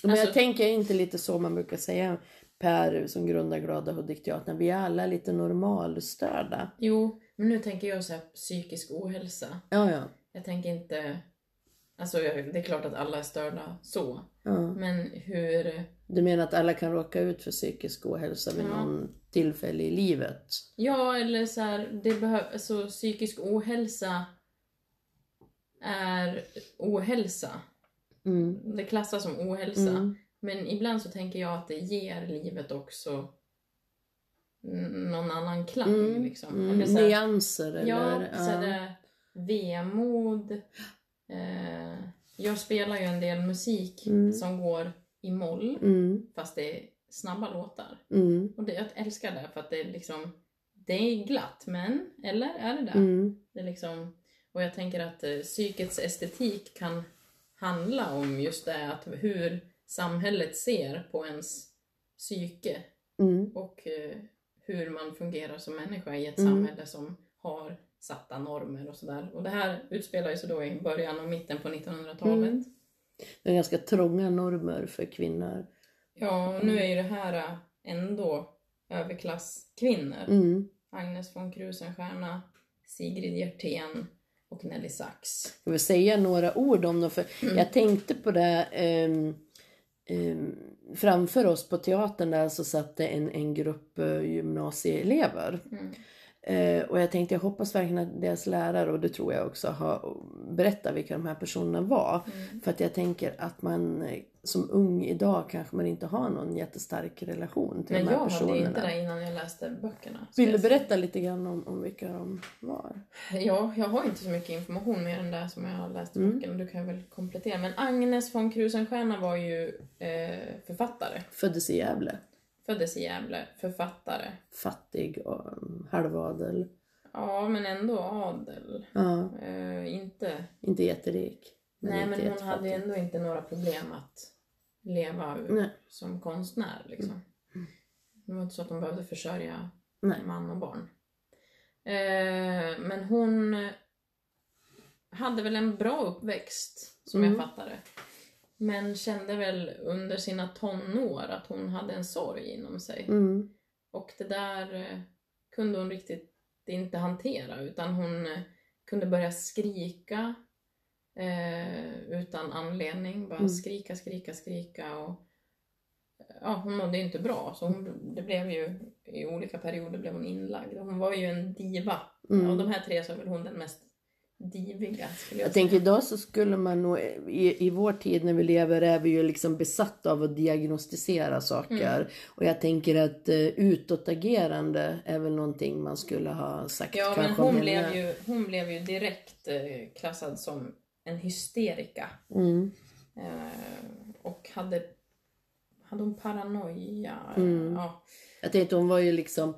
A: Men
B: Alltså-
A: jag tänker inte lite så man brukar säga Per som grundar Glada Hudik-teatern. Vi är alla lite normalstörda.
B: jo, men nu tänker jag så här psykisk ohälsa.
A: Ja, ja.
B: Jag tänker inte Alltså jag- det är klart att alla är störda så.
A: Ja.
B: Men hur...
A: Du menar att alla kan råka ut för psykisk ohälsa vid
B: Ja.
A: någon tillfälle i livet?
B: Ja, eller så här, det behöver... Alltså psykisk ohälsa är ohälsa.
A: Mm.
B: Det klassas som ohälsa.
A: Mm.
B: Men ibland så tänker jag att det ger livet också n- någon annan klang.
A: Mm.
B: Liksom.
A: Mm.
B: Eller så här,
A: Nyanser
B: ja,
A: eller?
B: så är det vemod. Eh, jag spelar ju en del musik
A: Mm.
B: som går i moll,
A: Mm.
B: fast det är snabba låtar.
A: Mm.
B: Och det, jag älskar det för att det är liksom, det är glatt, men, eller är det det?
A: Mm.
B: det är liksom, och jag tänker att eh, psykets estetik kan handla om just det, att hur samhället ser på ens psyke
A: Mm.
B: och eh, hur man fungerar som människa i ett
A: Mm.
B: samhälle som har satta normer och sådär. Och det här utspelar ju sig då i början och mitten på 1900-talet.
A: Mm. Det är ganska trånga normer för kvinnor.
B: Ja, och nu är ju det här eh, ändå överklasskvinnor.
A: Mm.
B: Agnes von Krusenstjerna, Sigrid Hjertén och Nelly Sachs.
A: Ska vi säga några ord om dem? För
B: Mm.
A: Jag tänkte på det. ehm, ehm, framför oss på teatern där så satt det en, en grupp eh, gymnasieelever.
B: Mm.
A: Eh, och jag tänkte, jag hoppas verkligen att deras lärare, och det tror jag också, har berättat vilka de här personerna var.
B: Mm.
A: För att jag tänker att man eh, som ung idag kanske man inte har någon jättestark relation till
B: Men
A: de här
B: jag hade ju
A: personerna.
B: inte det innan jag läste böckerna.
A: Vill du
B: Så jag-
A: berätta lite grann om, om vilka de var?
B: Ja, jag har inte så mycket information mer än det som jag har läst i
A: Mm.
B: böckerna. Du kan väl komplettera. Men Agnes von Krusenstjerna var ju eh, författare.
A: Föddes i Gävle.
B: Föddes i Gävle, författare.
A: Fattig och um, halvadel.
B: Ja, men ändå adel.
A: Ja,
B: Eh, inte...
A: inte jätterik.
B: Nej,
A: inte
B: men hon
A: jättefattig.
B: hade ju ändå inte några problem att leva
A: Nej.
B: som konstnär. Liksom. Det var inte så att de behövde försörja
A: Nej.
B: man och barn. Eh, men hon hade väl en bra uppväxt, som
A: Mm.
B: jag fattade. Men kände väl under sina tonår att hon hade en sorg inom sig.
A: Mm,
B: Och det där eh, kunde hon riktigt inte hantera utan hon eh, kunde börja skrika eh, utan anledning. Bara
A: Mm.
B: skrika, skrika, skrika och eh, ja, hon mådde ju inte bra. Så hon, det blev ju, i olika perioder blev hon inlagd. Och Hon var ju en diva.
A: mm.
B: Av de här tre så är väl hon den mest diviga skulle jag,
A: Jag tänker idag så skulle man nog, i, i vår tid när vi lever är vi ju liksom besatta av att diagnostisera saker.
B: Mm.
A: Och jag tänker att eh, utåtagerande är väl någonting man skulle ha sagt
B: Ja, men
A: kanske
B: hon
A: om
B: blev,
A: henne.
B: ju, hon blev ju direkt eh, klassad som en hysterika.
A: Mm,
B: Eh, och hade, hade hon paranoia?
A: Mm.
B: Ja.
A: Jag tänkte hon var ju liksom,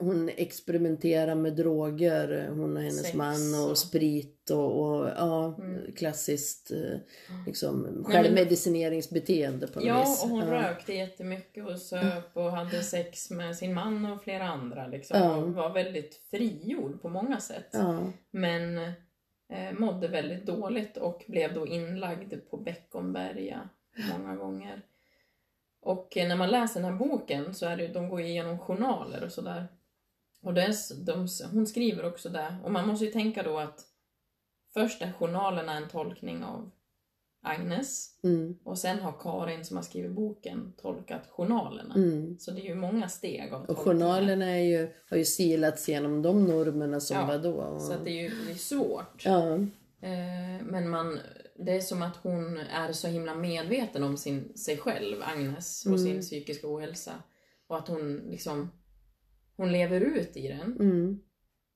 A: hon experimenterar med droger, hon och hennes
B: Sex
A: man och,
B: och-
A: sprit och, och ja,
B: Mm.
A: klassiskt eh, liksom,
B: men-
A: självmedicineringsbeteende på något
B: ja,
A: vis.
B: och hon
A: Ja. Mm.
B: rökte jättemycket och söp och hade sex med sin man och flera andra. Liksom.
A: Ja.
B: Och var väldigt frigjord på många sätt.
A: Ja.
B: Men eh, mådde väldigt dåligt och blev då inlagd på Beckomberga många gånger. Och eh, när man läser den här boken så är det, ju- de går ju igenom journaler och sådär. Och det är, s- de, s- hon skriver också det. Och man måste ju tänka då att först är journalerna en tolkning av Agnes
A: Mm,
B: och sen har Karin som har skrivit boken tolkat journalerna.
A: mm.
B: Så det är ju många steg av
A: Och
B: tolkningar.
A: journalerna är ju, har ju silats genom de normerna som
B: Ja,
A: var då. Och,
B: Så att det är ju det är svårt.
A: ja,
B: Eh, Men man, det är som att hon är så himla medveten om sin, sig själv, Agnes, och
A: Mm.
B: sin psykiska ohälsa. Och att hon liksom, hon lever ut i den.
A: mm,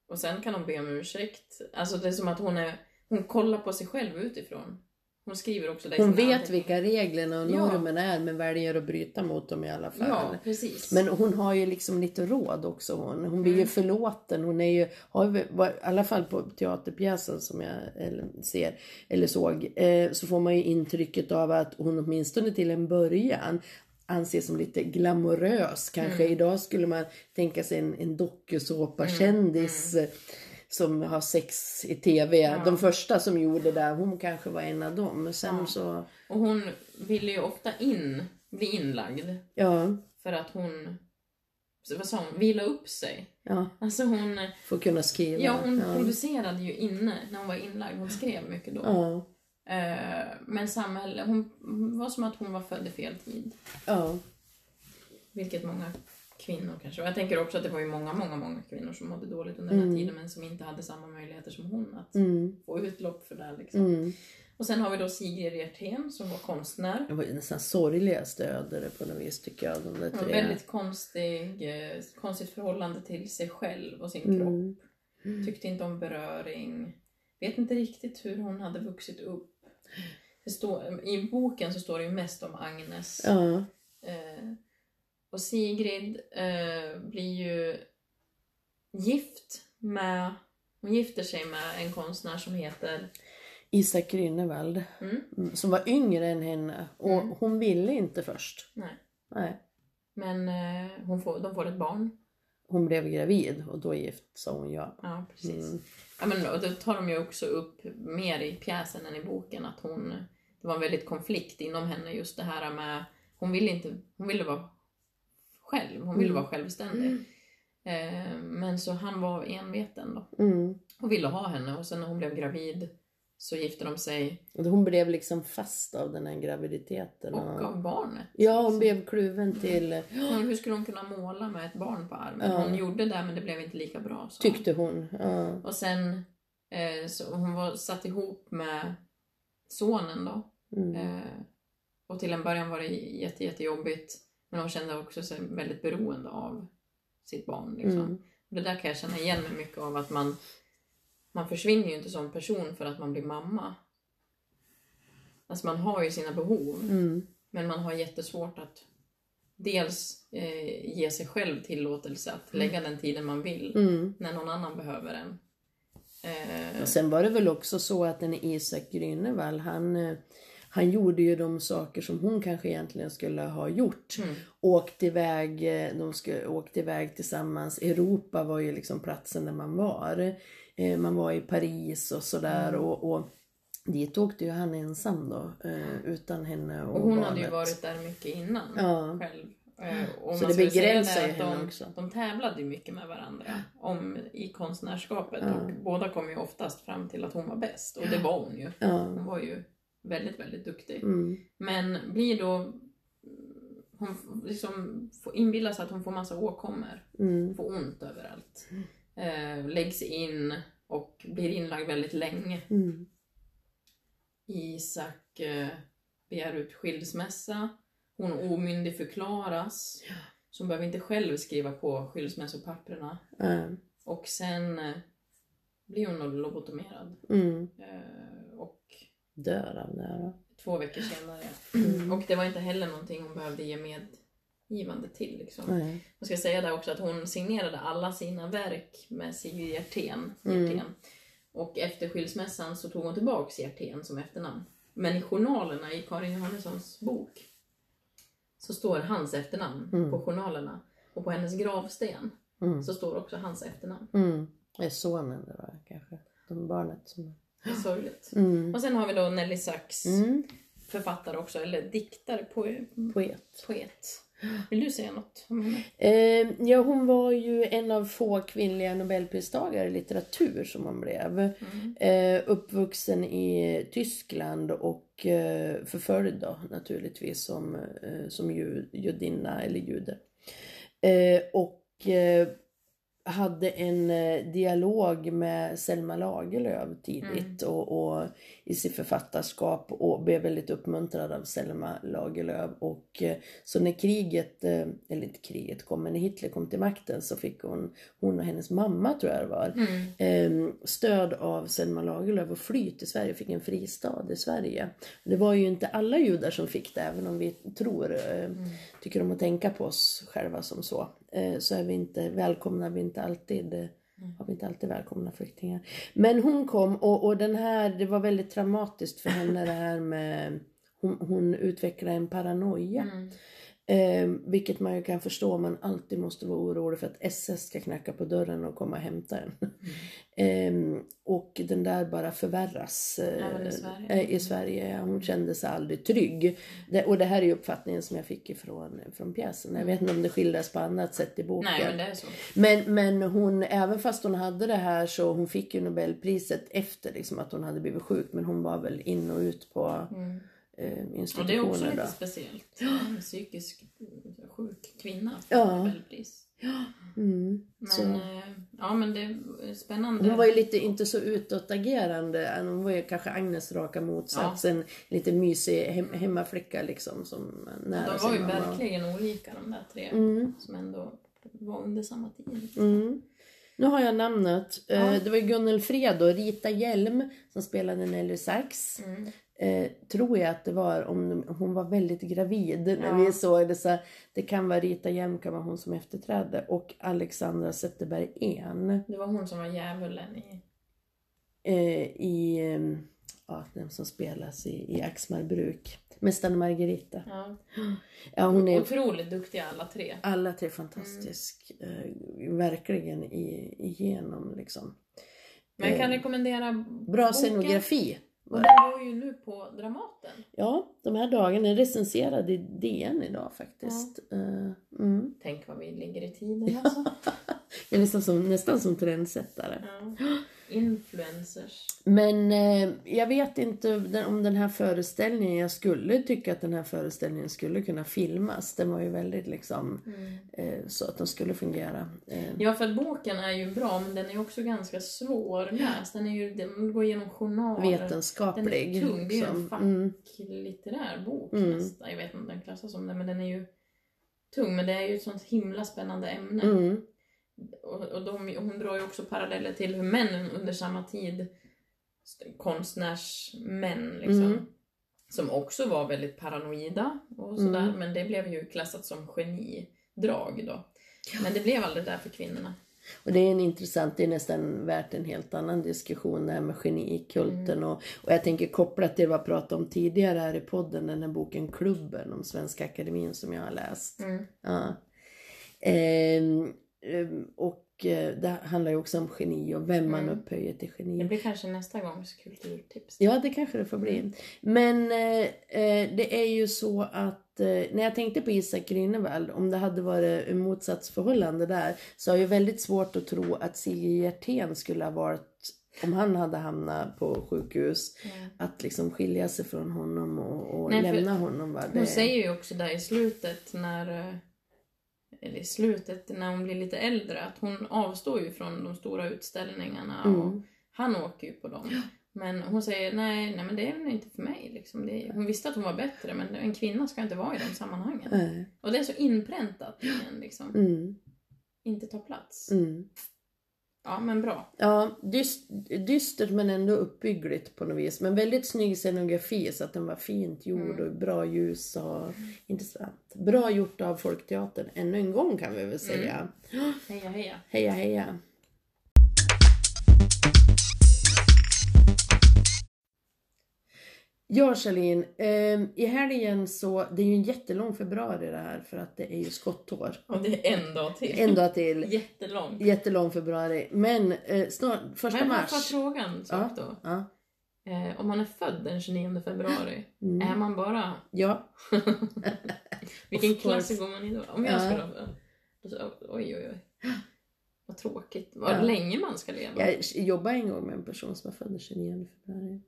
B: Och sen kan hon be om ursäkt. Alltså det är som att hon är, hon kollar på sig själv utifrån. Hon skriver också det i
A: hon
B: sina
A: vet
B: anteckningar.
A: vilka reglerna och
B: Ja.
A: normerna är men väljer att bryta mot dem i alla fall.
B: Ja, precis.
A: Men hon har ju liksom lite råd också. Hon, hon blir ju
B: Mm.
A: förlåten. Hon är ju, har, ju- var- i alla fall på teaterpjäsen som jag eller, ser eller såg, eh, så får man ju intrycket av att hon åtminstone till en början anses som lite glamorös. Kanske
B: Mm.
A: idag skulle man tänka sig en, en dokusåpakändis
B: Mm,
A: eh, som har sex i tv. De första som gjorde det, hon kanske var en av dem. Men sen
B: Ja.
A: så,
B: Och hon ville ju ofta in, bli inlagd.
A: ja,
B: För att hon, så vad sa hon, vila upp sig.
A: ja,
B: Alltså hon
A: får kunna skriva.
B: Ja, hon
A: ja.
B: producerade ju inne när hon var inlagd. Hon skrev mycket då.
A: Ja.
B: Eh, men samhället, hon, hon var som att hon var född i fel tid.
A: Ja.
B: Vilket många kvinnor kanske, och jag tänker också att det var ju många, många, många kvinnor som mådde dåligt under den
A: Mm.
B: här tiden men som inte hade samma möjligheter som hon att
A: Mm.
B: få utlopp för det här, liksom.
A: Mm.
B: Och sen har vi då Sigrid Hjertén som var konstnär.
A: Det var ju nästan sorgligaste öde på något vis tycker jag. De där
B: Hon har
A: tre.
B: väldigt konstig, eh, konstigt förhållande till sig själv och sin kropp.
A: mm.
B: Tyckte inte om beröring. Vet inte riktigt hur hon hade vuxit upp. Det står, I boken så står det ju mest om Agnes.
A: Ja.
B: Eh, och Sigrid eh, blir ju gift med, hon gifter sig med en konstnär som heter,
A: Isak Grünewald
B: mm,
A: mm, som var yngre än henne och
B: Mm.
A: hon ville inte först.
B: nej,
A: Nej.
B: men eh, hon får, de får ett barn.
A: Hon blev gravid och då gift sa hon ja.
B: Ja, precis.
A: Mm.
B: Ja, men och då tar de ju också upp mer i pjäsen än i boken att hon, det var en väldigt konflikt inom henne just det här med, hon ville inte, hon ville vara själv, hon ville
A: Mm.
B: vara självständig. Eh, men så han var enveten då
A: Mm.
B: och ville ha henne och sen när hon blev gravid så gifte de sig
A: Och Hon blev liksom fast av den här graviditeten.
B: och av barnet.
A: Ja, hon blev kluven till,
B: Hon, hur skulle hon kunna måla med ett barn på armen?
A: Ja.
B: Hon gjorde det men det blev inte lika bra. sa hon.
A: tyckte hon. Ja.
B: Och sen, eh, så hon var satt ihop med sonen då.
A: Mm.
B: Eh, och till en början var det jätte, jättejobbigt. Men hon kände också sig väldigt beroende av sitt barn. Liksom.
A: Mm.
B: Och det där kan jag känna igen mig mycket av. Att man, man försvinner ju inte som person för att man blir mamma. Alltså man har ju sina behov.
A: Mm.
B: Men man har jättesvårt att dels eh, ge sig själv tillåtelse att lägga den tiden man vill.
A: Mm.
B: När någon annan behöver en. Eh,
A: Och sen var det väl också så att den Isak Grünewald, han, eh, han gjorde ju de saker som hon kanske egentligen skulle ha gjort.
B: Mm.
A: Åkt iväg, eh, de skulle, åkt iväg tillsammans. Europa var ju liksom platsen där man var. Eh, Man var i Paris och sådär
B: Mm.
A: och, och dit åkte ju han ensam då. eh, Utan henne och,
B: och hon
A: barnet.
B: hade ju varit där mycket innan.
A: Ja.
B: själv. Eh, Och
A: Så
B: man
A: det
B: skulle säga
A: begränsar
B: det
A: ju
B: att
A: henne
B: de,
A: också.
B: De tävlade ju mycket med varandra om, i konstnärskapet
A: Ja.
B: och båda kom ju oftast fram till att hon var bäst och det var hon ju.
A: Ja.
B: Hon var ju väldigt, väldigt duktig.
A: Mm.
B: Men blir då hon f- liksom får inbilla sig att hon får massa åkommor,
A: Mm.
B: hon får ont överallt. Eh, läggs in och blir inlagd väldigt länge.
A: Mm.
B: Isak eh, begär ut skilsmässa. Hon omyndigförklaras.
A: Ja.
B: Så hon behöver inte själv skriva på skilsmässopapperna.
A: Ja.
B: Och sen eh, blir hon då lobotomerad.
A: Mm.
B: Eh, och
A: Dör av det här då.
B: två veckor senare.
A: Mm.
B: Och det var inte heller någonting hon behövde ge medgivande till. Liksom.
A: Nej.
B: Jag ska säga det också att hon signerade alla sina verk med Sigrid Hjertén.
A: Mm.
B: Hjertén. Och efter skilsmässan så tog hon tillbaks Hjertén som efternamn. Men i journalerna i Karin Johannessons bok så står hans efternamn
A: Mm.
B: på journalerna. Och på hennes gravsten
A: Mm.
B: så står också hans efternamn.
A: Mm. Det är sonen det var kanske. De barnet som...
B: Det är sorgligt.
A: Mm.
B: Och sen har vi då Nelly Sachs,
A: Mm.
B: författare också, eller diktare, po-
A: Poet.
B: poet. Vill du säga något om henne?
A: Eh, ja, hon var ju en av få kvinnliga nobelpristagare i litteratur som hon blev.
B: Mm.
A: Eh, uppvuxen i Tyskland och eh, förföljd då naturligtvis som, eh, som ju, judinna eller jude. Eh, och eh, hade en eh, dialog med Selma Lagerlöf tidigt och, och i sitt författarskap och blev väldigt uppmuntrad av Selma Lagerlöf. Och, eh, så när kriget, eh, eller inte kriget kom, men när Hitler kom till makten så fick hon, hon och hennes mamma tror jag det var,
B: Mm.
A: ehm, stöd av Selma Lagerlöf och fly till Sverige och fick en fristad i Sverige. Det var ju inte alla judar som fick det, även om vi tror, eh, tycker om att tänka på oss själva som så, eh, så är vi inte, välkomnar vi inte alltid eh, har vi inte alltid välkomna flyktingar. Men hon kom och, och den här, det var väldigt traumatiskt för henne det här med hon, hon utvecklade en paranoia.
B: Mm.
A: Eh, vilket man ju kan förstå om man alltid måste vara orolig för att SS ska knacka på dörren och komma och hämta en.
B: Mm.
A: Eh, och den där bara förvärras eh,
B: Även i Sverige.
A: eh, i Sverige. Hon kände sig aldrig trygg. Det, och det här är ju uppfattningen som jag fick ifrån, från pjäsen. Jag vet inte om det skildras på annat sätt i boken.
B: Nej, men det är så.
A: Men, men hon, även fast hon hade det här så hon fick ju Nobelpriset efter liksom, att hon hade blivit sjuk. Men hon var väl in och ut på
B: Mm.
A: eh,
B: Och det är också
A: institutioner.
B: lite
A: Då.
B: speciellt. En psykisk mm, sjuk kvinna får
A: Ja.
B: Nobelpris.
A: Mm. Så.
B: Men, eh, ja, men det är spännande.
A: Hon var ju lite inte så utåtagerande. Hon var ju kanske Agnes raka motsats. En lite mysig hem, hemmaflicka liksom. Som nära
B: de var ju
A: sin mamma.
B: verkligen olika de där tre
A: Mm.
B: som ändå var under samma tid.
A: Mm. Nu har jag namnet. Eh, Det var ju Gunnel Fred och Rita Hjelm som spelade Nelly Sachs.
B: Mm.
A: eh, tror jag att det var, om de- hon var väldigt gravid när
B: Ja.
A: vi såg det. Så här, det kan vara Rita Hjelm, kan vara hon som efterträdde och Alexandra Zetterberg Ehn
B: Det var hon som var djävulen i...
A: eh, i, eh, ja, den som spelas i, i Axmarbruk. Mästaren Margarita.
B: Ja.
A: Ja, hon är
B: Otroligt duktiga alla tre.
A: alla tre fantastisk, eh, verkligen i, igenom liksom.
B: Men jag kan
A: Eh,
B: rekommendera
A: Bra
B: boken.
A: scenografi.
B: Och den går ju nu på Dramaten.
A: Ja, de här dagarna är recenserade i DN idag faktiskt. Eh, mm.
B: Tänk vad vi ligger i tiden alltså.
A: Jag är nästan som, nästan som trendsättare.
B: Ja. Influencers.
A: Men eh, jag vet inte den- om den här föreställningen, jag skulle tycka att den här föreställningen skulle kunna filmas. Den var ju väldigt liksom
B: Mm.
A: eh, så att den skulle fungera. Eh,
B: Ja, för att boken är ju bra, men den är också ganska svårläst. Den, är ju, den går igenom journaler. Den
A: vetenskaplig.
B: är tung. Det är ju en
A: liksom. Mm.
B: facklitterär bok
A: Mm.
B: nästan. Jag vet inte om den klassas som det, men den är ju tung. Men det är ju ett sånt himla spännande ämne.
A: Mm.
B: Och, och de, hon drar ju också paralleller till hur männen under samma tid, st- konstnärsmän liksom,
A: Mm.
B: som också var väldigt paranoida och sådär,
A: Mm.
B: men det blev ju klassat som genidrag då. Men det blev aldrig där för kvinnorna.
A: Och det är en intressant, det är nästan värt en helt annan diskussion det här med genikulten
B: Mm.
A: och, och jag tänker kopplat till vad jag pratade om tidigare här i podden, den här boken Klubben om Svenska Akademin som jag har läst.
B: Mm.
A: Ja. Ehm, ehm, och eh, det handlar ju också om geni och vem man
B: Mm.
A: upphöjer till
B: Det
A: geni.
B: blir kanske nästa gångs kulturtips.
A: Ja, det kanske det får bli. Men eh, eh, det är ju så att eh, när jag tänkte på Isak Grünewald, om det hade varit en motsatsförhållande där, så har jag väldigt svårt att tro att Sigge Hjertén skulle ha varit, om han hade hamnat på sjukhus,
B: Mm.
A: att liksom skilja sig från honom och, och
B: Nej, för
A: lämna honom. Va?
B: Hon
A: Det-
B: säger ju också där i slutet när eh, eller i slutet när hon blir lite äldre att hon avstår ju från de stora utställningarna och
A: Mm.
B: han åker ju på dem. Men hon säger nej, nej men det är väl inte för mig liksom. det är, Hon visste att hon var bättre men en kvinna ska inte vara i de sammanhangen.
A: Nej.
B: Och det är så inpräntat i en liksom.
A: Eh, Mm,
B: Inte ta plats.
A: mm.
B: Ja men bra.
A: Ja, dyst, dystert men ändå uppbyggligt på något vis. Men väldigt snygg scenografi så att den var fint gjord
B: Mm.
A: och bra ljus och intressant. Bra gjort av Folkteatern ännu en gång kan vi väl säga.
B: Mm. Heja heja.
A: Heja heja! Ja, Charlene. ehm, I helgen så, det är ju en jättelång februari det här för att det är ju skottår.
B: Och det är en dag till.
A: En dag till.
B: Jättelång.
A: Jättelång februari. Men eh, snart, första
B: Men vad var
A: mars.
B: frågan?
A: Ja.
B: sak Då?
A: Ja.
B: Eh, om man är född den 29 februari,
A: Mm.
B: är man bara
A: Ja,
B: Vilken
A: Of course.
B: klass går man i då? Om jag
A: Ja.
B: skulle ha... då så- Oj, oj, oj. Vad tråkigt. Vad
A: Ja.
B: länge man ska leva.
A: jag jobbade en gång med en person som var född den 29 februari.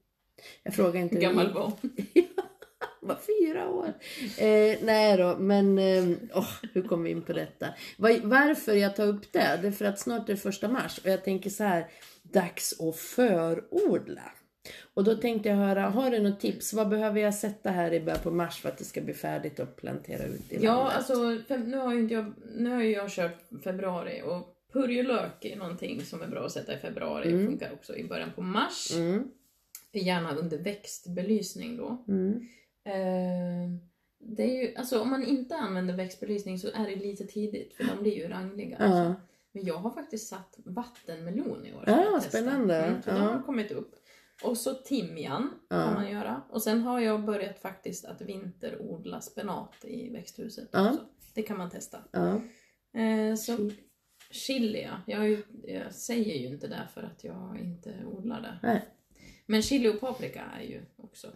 A: Jag frågar inte
B: Hur
A: hur det
B: gammal
A: gick.
B: var hon?
A: var fyra år. Eh, nej då, men eh, åh, hur kom vi in på detta? Var, varför jag tar upp det? Det är för att snart är det första mars och jag tänker så här, dags att förordla. Och då tänkte jag höra, har du något tips? Vad behöver jag sätta här i början på mars för att det ska bli färdigt och plantera ut i
B: Ja,
A: landet?
B: alltså fem, nu har ju inte jag, nu har ju jag kört februari och purjolök är någonting som är bra att sätta i februari.
A: Mm.
B: Funkar också i början på mars.
A: Mm,
B: Gärna under växtbelysning då.
A: mm,
B: Eh, det är ju, alltså om man inte använder växtbelysning så är det lite tidigt för de blir ju rangliga. alltså.
A: ja.
B: Men jag har faktiskt satt vattenmelon i år.
A: Ah,
B: för att testa.
A: spännande. Ah.
B: Mm, så de
A: Ja.
B: har kommit upp. Och så timjan
A: Ja.
B: kan man göra. Och sen har jag börjat faktiskt att vinterodla spenat i växthuset
A: Ja.
B: också. Det kan man testa.
A: Ja.
B: Eh, så chili, ja. Jag, har ju- jag säger ju inte det för att jag inte odlar det.
A: Nej,
B: Men chili och paprika är ju också.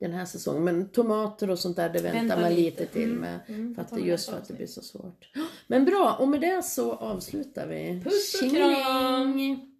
A: den här säsongen. Men tomater och sånt där, det väntar
B: Vänta
A: man lite,
B: lite.
A: till
B: Mm,
A: med.
B: mm,
A: för att
B: ta
A: det,
B: med
A: just
B: ett
A: för att det
B: avsnitt.
A: blir så svårt. Men bra, och med det så avslutar vi.
B: Puss och
A: Tjingeling!
B: kram!